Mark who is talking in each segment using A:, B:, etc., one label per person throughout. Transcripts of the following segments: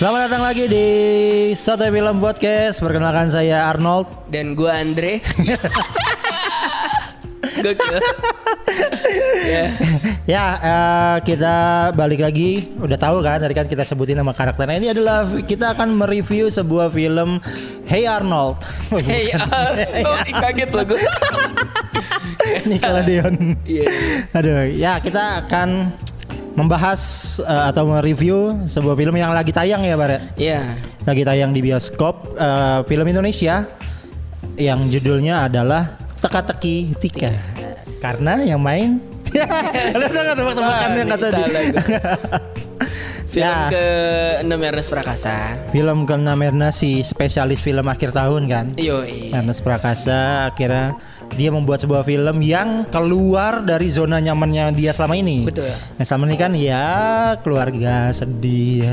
A: Selamat datang lagi di Sotoy Film Podcast. Perkenalkan saya Arnold.
B: dan gue Andre. Gokil. ya,
A: Ya, eh, kita balik lagi. Udah tahu kan tadi kan kita sebutin nama karakternya. Ini adalah kita akan mereview sebuah film Hey Arnold. Oh,
B: hey, uh,
A: Ya.
B: kaget lo gue.
A: Nickelodeon.
B: Iya.
A: Aduh, ya kita akan membahas eh, atau mereview sebuah film yang lagi tayang ya, Bare.
B: Iya,
A: lagi tayang Nah, di bioskop eh, film Indonesia yang judulnya adalah Teka-teki Tika. Karena yang main Ada tebak tebakan Ah, yang kata
B: Wah, ini
A: di.
B: salah gua. film
A: ya,
B: ke 6 Ernest Prakasa.
A: film ke si spesialis film akhir tahun kan.
B: Yoi.
A: Ernest Prakasa akhirnya dia membuat sebuah film yang keluar dari zona nyamannya dia selama ini.
B: Betul.
A: Yang selama ini kan ya keluarga sedih. ya,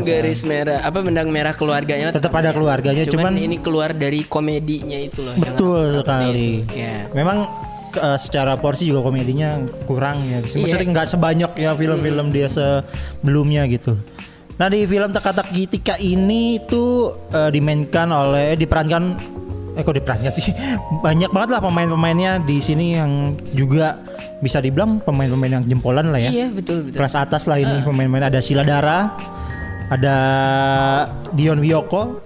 A: segala macam.
B: garis merah apa benang merah keluarganya
A: Tetap ada keluarganya, cuman-
B: cuman, ini keluar dari komedinya itu loh. yang
A: Betul
B: rame-rame
A: sekali.
B: itu. Ya.
A: Memang ke- eh, secara porsi juga komedinya kurang ya. Maksudnya
B: Iya. Hmm.
A: nggak sebanyak ya film-film dia sebelumnya gitu. Nah di film teka-teki tika ini itu eh, dimainkan oleh diperankan eh kok diperankan sih banyak banget lah pemain-pemainnya di sini yang juga bisa dibilang pemain-pemain yang jempolan lah ya.
B: Iya, Eh. betul betul.
A: Kelas atas lah ini pemain-pemain ada Sila Dara, ada Dion Wiyoko,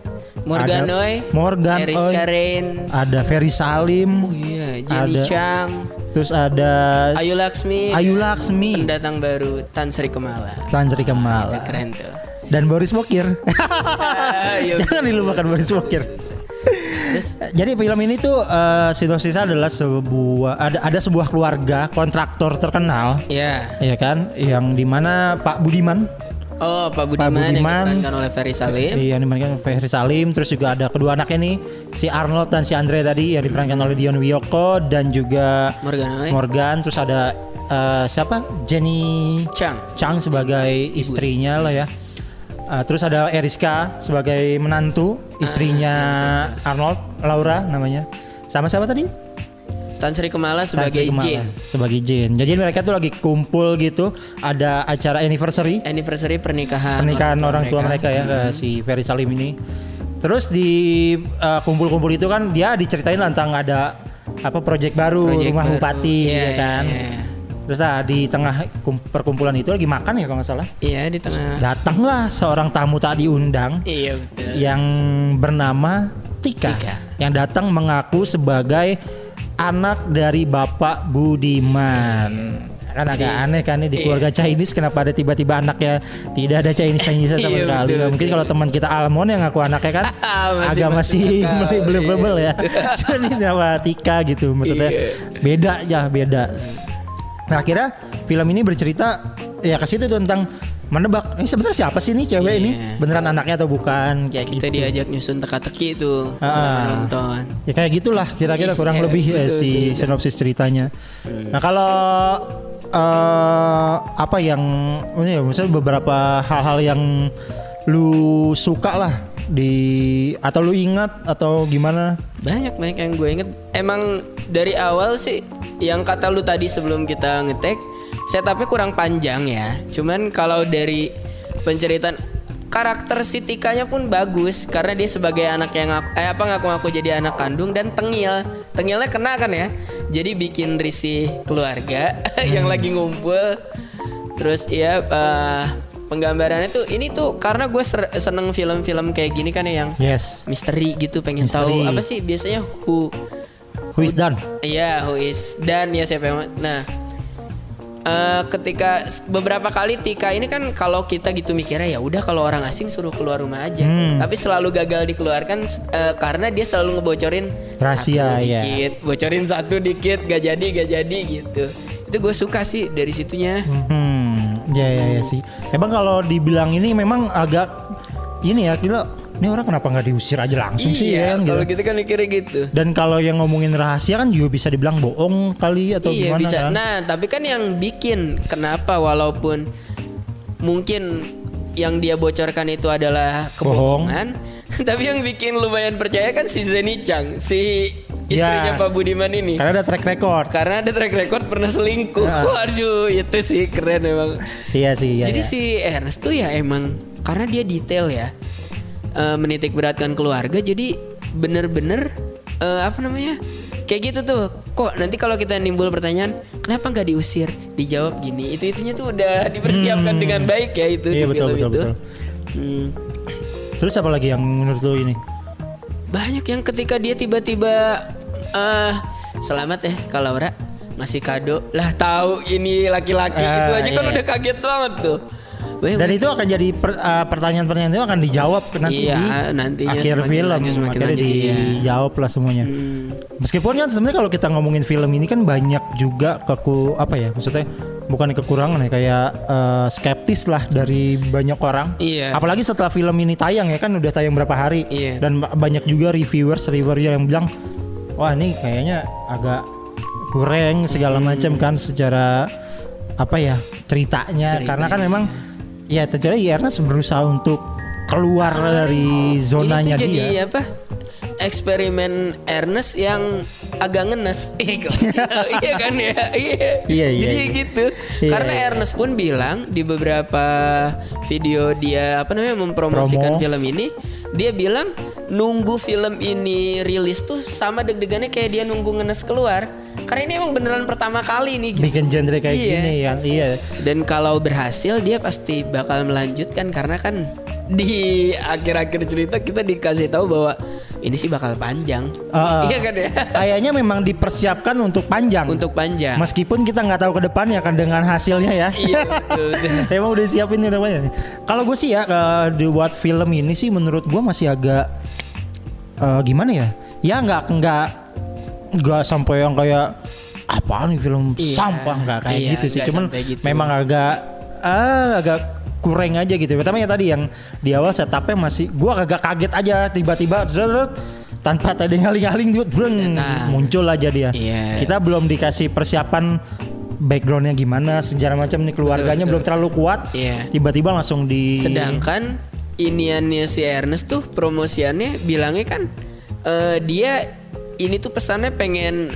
B: Morgan
A: ada
B: Oy,
A: Morgan
B: Eris
A: Oy,
B: Karen.
A: ada Ferry Salim,
B: Oh iya, Jenny
A: Ada-
B: Chang,
A: terus ada
B: Ayu Laksmi,
A: Ayu Laksmi,
B: pendatang baru Tan Sri Kemala.
A: Tan Sri Kemala,
B: Keren tuh.
A: dan Boris Mokir.
B: Ayo.
A: Jangan dilupakan Boris Mokir.
B: Terus
A: Jadi film ini tuh eh, sinopsisnya adalah sebuah ada ada sebuah keluarga kontraktor terkenal,
B: ya.
A: ya kan, yang dimana Pak Budiman,
B: Oh, Pak Budiman, yang
A: Budiman.
B: diperankan oleh Ferry Salim.
A: iya yang dimainkan Ferry Salim, terus juga ada kedua anaknya nih, si Arnold dan si Andre tadi yang diperankan oleh Dion Wiyoko dan juga
B: Morgan Oy.
A: Morgan, terus ada eh, siapa Jenny
B: Chang.
A: Chang sebagai istrinya lah ya. Uh, terus ada Eriska sebagai menantu
B: Ah,
A: istrinya
B: iya,
A: Arnold, Laura namanya. Sama siapa tadi?
B: Tan Sri Kemala sebagai
A: Tansi Kumara.
B: Jin.
A: Sebagai Jane. Jadi mereka tuh lagi kumpul gitu, ada acara anniversary
B: Anniversary Iya, pernikahan. Hmm.
A: pernikahan orang tua mereka, ya ke si Ferry Salim ini. Terus di uh, kumpul-kumpul itu kan dia diceritain lah tentang ada apa proyek baru
B: Project
A: rumah
B: baru.
A: bupati
B: Iya,
A: ya kan.
B: iya, iya.
A: Terus ah, di tengah kum- perkumpulan itu lagi makan ya kalau nggak salah.
B: Iya, di tengah.
A: Datanglah seorang tamu tak diundang
B: Iya, betul.
A: yang bernama Tika,
B: Tika.
A: yang datang mengaku sebagai anak dari Bapak Budiman.
B: Hmm.
A: Kan agak
B: Iya.
A: aneh kan nih di keluarga Chinese kenapa ada tiba-tiba anaknya tidak ada Chinese Chinese sama
B: Iya,
A: sekali.
B: betul,
A: Mungkin
B: betul.
A: kalau teman kita Almon yang ngaku anaknya kan
B: Masih
A: agak
B: masuk
A: masih
B: akal,
A: belebel ya. Cuman ini nama Tika gitu maksudnya
B: Iya.
A: beda ya beda. Nah akhirnya film ini bercerita ya ke situ tuh tentang menebak ini sebenarnya siapa sih nih cewek ini
B: Iya.
A: beneran anaknya atau bukan kayak
B: Ya, Kita
A: gitu.
B: diajak nyusun teka-teki itu
A: Ah.
B: setelah nonton.
A: Ya kayak gitulah kira-kira kurang
B: Iya,
A: lebih eh,
B: betul,
A: si
B: betul. Iya.
A: sinopsis ceritanya. Nah kalau eh, apa yang ini ya, misalnya beberapa hal-hal yang lu suka lah di atau lu ingat atau gimana?
B: Banyak banyak yang gue inget. Emang dari awal sih yang kata lu tadi sebelum kita ngetek setupnya kurang panjang ya. Cuman kalau dari penceritaan karakter si Tikanya pun bagus karena dia sebagai anak yang ngaku, eh apa ngaku-ngaku jadi anak kandung dan tengil. Tengilnya kena kan ya. Jadi bikin risih keluarga yang lagi ngumpul. Terus ya eh, penggambarannya tuh ini tuh karena gue ser- seneng film-film kayak gini kan ya yang
A: Yes.
B: misteri gitu pengen
A: Misteri.
B: tahu apa sih biasanya who
A: Who is done?
B: iya who is dan ya siapa yang nah eh, ketika s- beberapa kali Tika ini kan kalau kita gitu mikirnya ya udah kalau orang asing suruh keluar rumah aja
A: Hmm.
B: tapi selalu gagal dikeluarkan s- eh, karena dia selalu ngebocorin
A: Rahasia,
B: satu
A: ya.
B: dikit bocorin satu dikit gak jadi gak jadi gitu itu gue suka sih dari situnya
A: Hmm, ya ya ya sih. Emang kalau dibilang ini memang agak ini ya kira ini orang kenapa nggak diusir aja langsung sih ya
B: iya,
A: kan,
B: kalau
A: gitu.
B: gitu kan mikirnya gitu.
A: Dan kalau yang ngomongin rahasia kan juga bisa dibilang bohong kali atau
B: iya
A: gimana
B: bisa.
A: kan?
B: Nah, tapi kan yang bikin kenapa walaupun mungkin yang dia bocorkan itu adalah
A: Bohong.
B: kebohongan, tapi yang bikin lumayan percaya kan si Zeni Chang, si istrinya
A: Ya.
B: Pak Budiman ini.
A: Karena ada track record.
B: Karena ada track record pernah selingkuh.
A: Ya.
B: Waduh, itu sih keren emang.
A: Iya sih. Iya,
B: Jadi
A: iya.
B: si Ernest tuh ya emang karena dia detail ya eh, menitik beratkan keluarga jadi bener-bener eh, apa namanya kayak gitu tuh kok nanti kalau kita nimbul pertanyaan kenapa nggak diusir dijawab gini itu itunya tuh udah dipersiapkan dengan baik ya
A: Hmm.
B: itu
A: Iya,
B: di
A: betul,
B: film
A: betul,
B: itu.
A: betul.
B: Hmm,
A: Terus apa lagi yang menurut lo ini?
B: banyak yang ketika dia tiba-tiba eh selamat ya kalau Laura ngasih kado lah tahu ini laki-laki
A: Ah,
B: itu aja kan
A: iya.
B: udah kaget banget tuh Banyak
A: Dan itu akan jadi per- eh, pertanyaan-pertanyaan itu akan dijawab nanti
B: Iya, Iya,
A: di
B: nantinya
A: akhir
B: semakin
A: film.
B: lanjut, semakin
A: Akhirnya
B: lanjut, iya. Hmm.
A: dijawab lah semuanya. Meskipun kan sebenarnya kalau kita ngomongin film ini kan banyak juga keku apa ya maksudnya bukan kekurangan ya kayak eh, skeptis lah dari banyak orang.
B: Iya.
A: Apalagi setelah film ini tayang ya kan udah tayang berapa hari
B: Iya.
A: dan ba- banyak juga reviewers reviewer yang bilang wah ini kayaknya agak kurang segala
B: Hmm.
A: macam kan secara apa ya ceritanya karena kan memang ya terjadi ya Ernest berusaha untuk keluar dari zonanya
B: Ah, Ini tuh
A: dia.
B: jadi ya. apa? Eksperimen Ernest yang agak ngenes. Eh, kok gitu? iya kan ya? Iya.
A: Iya, iya,
B: Jadi
A: iya.
B: gitu.
A: Iya,
B: Karena
A: iya.
B: Ernest pun bilang di beberapa video dia apa namanya mempromosikan
A: Promo.
B: film ini, dia bilang nunggu film ini rilis tuh sama deg-degannya kayak dia nunggu ngenes keluar. Karena ini emang beneran pertama kali nih gitu.
A: bikin genre kayak
B: Iya.
A: gini kan iya
B: Dan kalau berhasil dia pasti bakal melanjutkan karena kan di akhir-akhir cerita kita dikasih tahu bahwa ini sih bakal panjang.
A: Ah.
B: Iya kan ya?
A: kayaknya memang dipersiapkan untuk panjang
B: Untuk ya. panjang.
A: meskipun kita nggak tahu ke depannya kan dengan hasilnya ya
B: Iya, betul, betul.
A: emang udah disiapin untuk panjang kalau gue sih ya eh, dibuat film ini sih menurut gue masih agak eh, gimana ya ya nggak nggak nggak sampai yang kayak apaan nih film
B: Iya.
A: sampah nggak kayak
B: Iya,
A: gitu sih
B: nggak
A: cuman
B: sampai gitu.
A: memang agak ah, agak kurang aja gitu. Pertama yang tadi yang di awal setupnya masih gua agak kaget aja tiba-tiba zrrrt, tanpa tadi ngaling-ngaling tiba- breng,
B: Nah.
A: muncul aja dia.
B: Iya.
A: Kita belum dikasih persiapan backgroundnya gimana, sejarah macam nih keluarganya
B: Betul,
A: belum terlalu kuat.
B: Iya.
A: Tiba-tiba langsung di
B: Sedangkan iniannya si Ernest tuh promosiannya bilangnya kan eh, dia ini tuh pesannya pengen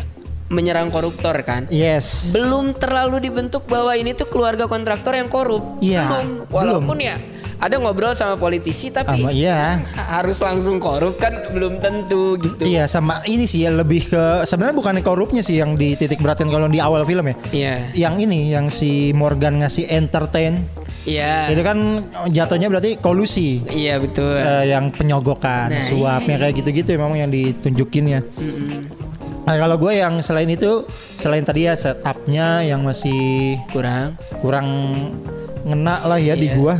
B: menyerang koruptor kan.
A: Yes.
B: belum terlalu dibentuk bahwa ini tuh keluarga kontraktor yang korup.
A: Iya,
B: Belum. Walaupun ya ada ngobrol sama politisi tapi
A: Sama- iya.
B: ha- harus langsung korup kan belum tentu gitu.
A: Iya sama ini sih ya lebih ke sebenarnya bukan korupnya sih yang di titik beratkan kalau di awal film ya.
B: Iya.
A: Yang ini yang si Morgan ngasih entertain
B: Iya.
A: itu kan jatuhnya berarti kolusi
B: Iya betul.
A: eh, yang penyogokan
B: Nah,
A: suapnya kayak gitu-gitu ya memang yang ditunjukin ya nah, kalau gue yang selain itu selain tadi ya setupnya yang masih
B: Kurang.
A: kurang ngena lah ya di
B: Iya.
A: gua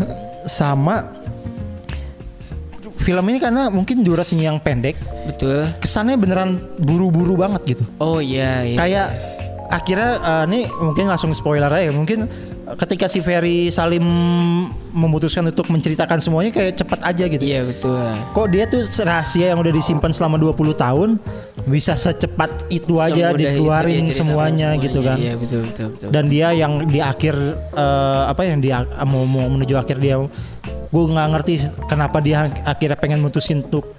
A: sama film ini karena mungkin durasinya yang pendek
B: Betul.
A: kesannya beneran buru-buru banget gitu
B: Oh iya. iya.
A: kayak akhirnya eh, ini mungkin langsung spoiler aja mungkin ketika si Ferry Salim memutuskan untuk menceritakan semuanya kayak cepat aja gitu
B: Iya betul.
A: kok dia tuh rahasia yang udah disimpan selama 20 tahun bisa secepat itu aja
B: Semudah itu dia
A: dikeluarin
B: ceritakan
A: semuanya, gitu kan
B: Iya betul betul betul.
A: dan dia yang di akhir eh, apa yang dia mau, mau menuju akhir dia gue nggak ngerti kenapa dia akhirnya pengen mutusin untuk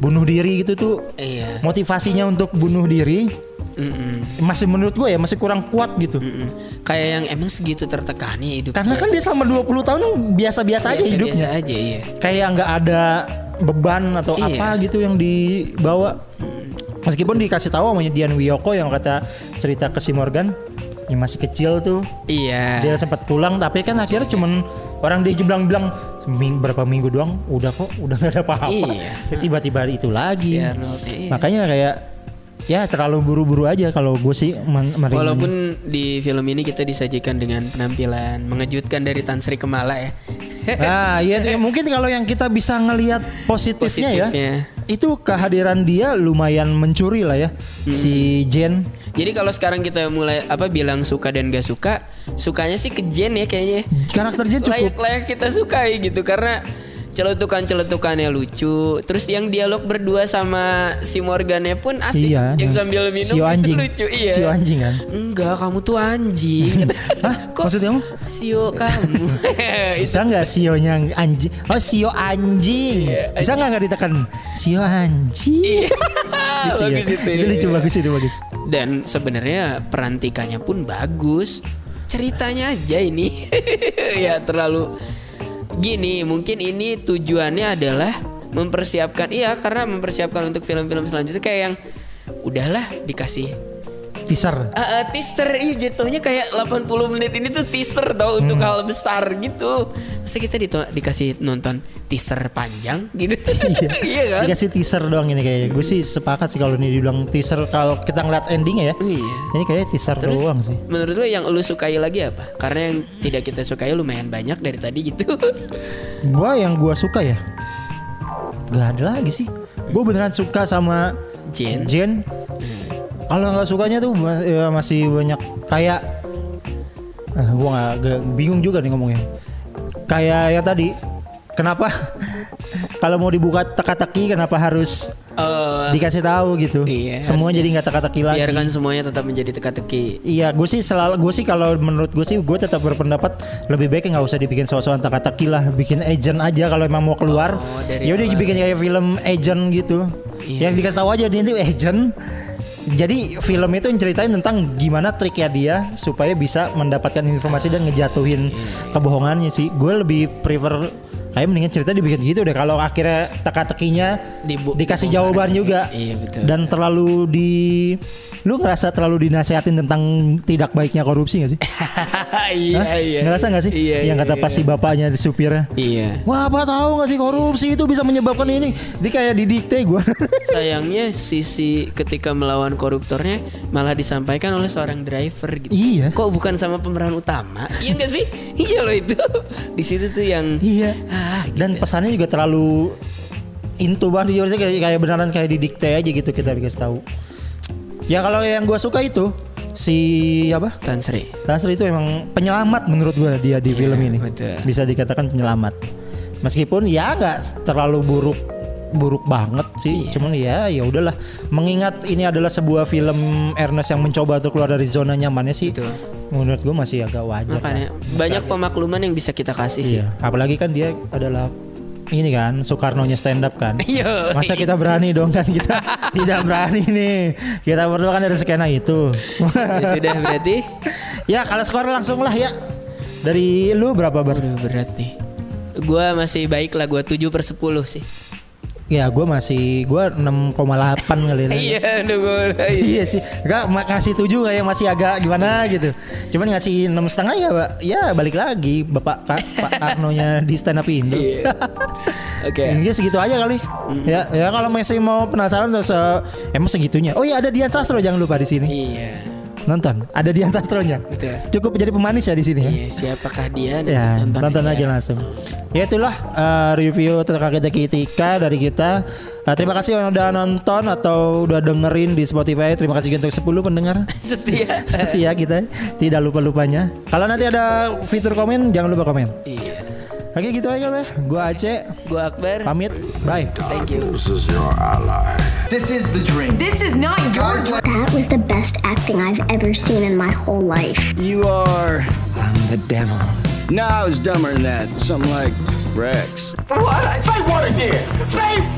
A: bunuh diri gitu tuh
B: Iya.
A: motivasinya untuk bunuh diri
B: Mm-mm,
A: masih menurut gue ya masih kurang kuat gitu
B: mm-mm. Kayak yang emang segitu tertekani hidup.
A: karena kan dia selama 20 tahun biasa-biasa aja hidupnya
B: biasa aja iya.
A: kayak nggak ada beban atau
B: Iya.
A: apa gitu yang dibawa meskipun dikasih tahu sama Dian Wiyoko yang kata cerita ke si Morgan yang masih kecil tuh
B: Iya.
A: dia sempat pulang tapi kan akhirnya cuman orang dia bilang-bilang "Ming- berapa minggu doang udah kok udah nggak ada apa-apa
B: Iya.
A: Ya, tiba-tiba itu lagi
B: Si Arnold, iya.
A: makanya kayak ya terlalu buru-buru aja kalau gue sih men- meringanya.
B: Walaupun di film ini kita disajikan dengan penampilan mengejutkan dari Tan Sri Kemala ya.
A: Nah, ya, ya, mungkin kalau yang kita bisa ngelihat positifnya,
B: Positifnya.
A: ya, itu kehadiran dia lumayan mencuri lah ya,
B: Hmm.
A: si Jen.
B: Jadi kalau sekarang kita mulai apa bilang suka dan gak suka, sukanya sih ke Jen ya kayaknya.
A: Karakter Jen cukup
B: Layak-layak kita sukai gitu karena celetukan-celetukannya lucu. Terus yang dialog berdua sama si Morgannya pun asik.
A: Iya,
B: yang sambil minum
A: sio
B: itu
A: anjing.
B: lucu. Iya.
A: Sio anjing kan?
B: Enggak, kamu tuh anjing.
A: Hah? Maksud kamu?
B: Sio kamu. Itu
A: Bisa nggak sionya anjing? Oh sio anjing.
B: Iya,
A: Bisa nggak nggak ditekan sio anjing? Lucu ya.
B: Iya, bagus itu.
A: Itu lucu bagus itu bagus.
B: Dan sebenarnya perantikannya pun bagus. Ceritanya aja ini ya terlalu gini. Mungkin ini tujuannya adalah mempersiapkan iya karena mempersiapkan untuk film-film selanjutnya kayak yang udahlah dikasih
A: Teaser.
B: Ah, ah, teaser iya jatuhnya kayak 80 menit ini tuh teaser tau
A: Hmm.
B: untuk hal besar gitu. Masa kita dito- dikasih nonton teaser panjang gitu.
A: Iya.
B: iya kan?
A: Dikasih teaser doang ini kayaknya. Gue sih sepakat sih kalau ini dibilang teaser kalau kita ngeliat endingnya ya.
B: Iya.
A: Ini kayaknya teaser
B: Terus
A: doang sih.
B: menurut lo yang lu sukai lagi apa? Karena yang tidak kita sukai lumayan banyak dari tadi gitu.
A: Gua yang gua suka ya. Gak ada lagi sih. Gue beneran suka sama
B: Jen.
A: Jen. Kalau nggak sukanya tuh ma- ya masih banyak kayak ah, gua nggak nggak- bingung juga nih ngomongnya. Kayak ya tadi kenapa kalau mau dibuka teka-teki kenapa harus
B: Eh,
A: dikasih tahu gitu.
B: Iya,
A: Semua
B: harusnya
A: jadi nggak teka-teki lagi.
B: biarkan semuanya tetap menjadi teka-teki.
A: Iya, gue sih selalu gue sih kalau menurut gue sih gue tetap berpendapat lebih baik nggak usah dibikin sosokan teka-teki lah, bikin agent aja kalau emang mau keluar.
B: Oh, dari
A: ya udah
B: awal.
A: dibikin kayak film agent gitu.
B: Iya.
A: Yang dikasih tahu aja dia itu agent. Jadi film itu ceritain tentang gimana triknya dia supaya bisa mendapatkan informasi dan
B: Iya,
A: ngejatuhin kebohongannya sih. Gue lebih prefer kayak mendingan cerita dibikin gitu deh. Kalau akhirnya teka-tekinya
B: Dibu-
A: dikasih
B: dibongkar.
A: jawaban juga.
B: Iya, betul.
A: Dan terlalu di lu ngerasa terlalu dinasehatin tentang tidak baiknya korupsi gak sih?
B: iya,
A: Hah?
B: iya.
A: Ngerasa gak sih?
B: Iya,
A: Yang
B: iya,
A: kata
B: iya.
A: pasti bapaknya di supirnya.
B: Iya.
A: Wah, apa tahu gak sih korupsi itu bisa menyebabkan ini? Dia kayak didikte gua.
B: Sayangnya sisi ketika melawan koruptornya malah disampaikan oleh seorang driver gitu.
A: Iya.
B: Kok bukan sama pemeran utama? iya gak sih? Iya loh itu. Di situ tuh yang
A: iya.
B: ah
A: Dan pesannya juga terlalu into banget jujur sih, kayak, kayak beneran kayak didikte aja gitu kita dikasih tahu. Ya kalau yang gua suka itu si apa?
B: Tan Sri.
A: Tasri itu emang penyelamat menurut gua dia di film ini.
B: Iya, betul.
A: Bisa dikatakan penyelamat. Meskipun ya nggak terlalu buruk buruk banget sih,
B: Iya.
A: cuman ya ya udahlah. Mengingat ini adalah sebuah film Ernest yang mencoba untuk keluar dari zona nyamannya sih.
B: Betul.
A: Menurut gua masih agak wajar. lah.
B: Makanya ya. banyak pemakluman yang bisa kita kasih sih.
A: kan? Iya. Apalagi kan dia adalah ini kan Soekarnonya stand up kan.
B: Iya.
A: Masa kita berani dong kan kita tidak berani nih. Kita berdua kan dari skena itu.
B: Ya sudah berarti
A: Ya kalau skor langsung lah ya Dari lu berapa ber?
B: Aduh berat nih. Gua masih baik lah gua 7 per 10 sih.
A: Ya gue masih Gue 6,8 kali ini
B: Iya, aduh gua.
A: Iya sih Gak ngasih 7 kayak masih agak gimana gitu Cuman ngasih 6,5 setengah ya Pak. Ya balik lagi Bapak Ka- Pak Karnonya di stand up Indo
B: Iya. Hmm. Oke.
A: Iya segitu aja kali. Ya, ya kalau masih mau penasaran terus eh, emang segitunya. Oh iya ada Dian Sastro jangan lupa di sini.
B: Iya.
A: Nonton. Ada Dian Sastronya.
B: Betul.
A: Cukup jadi pemanis ya di sini ya.
B: Iya, siapakah dia? Nanti
A: Ya, nonton, aja
B: lah.
A: langsung. Ya itulah eh, review tentang kita ketika dari kita. Eh, terima kasih yang udah nonton atau udah dengerin di Spotify. Terima kasih juga untuk 10 pendengar.
B: Setia.
A: Setia kita. Tidak lupa-lupanya. Kalau nanti ada fitur komen, jangan lupa komen.
B: Iya.
A: Oke, gitu aja lah. Gua Aceh
B: Gua Akbar.
A: pamit. Bye.
B: Thank you.
C: This is your ally.
D: This is the dream.
E: This is not yours.
F: That was the best acting I've ever seen in my whole life.
G: You are.
H: I'm the devil.
G: No, I was dumber than that. Something like Rex.
I: What? Say what again? Say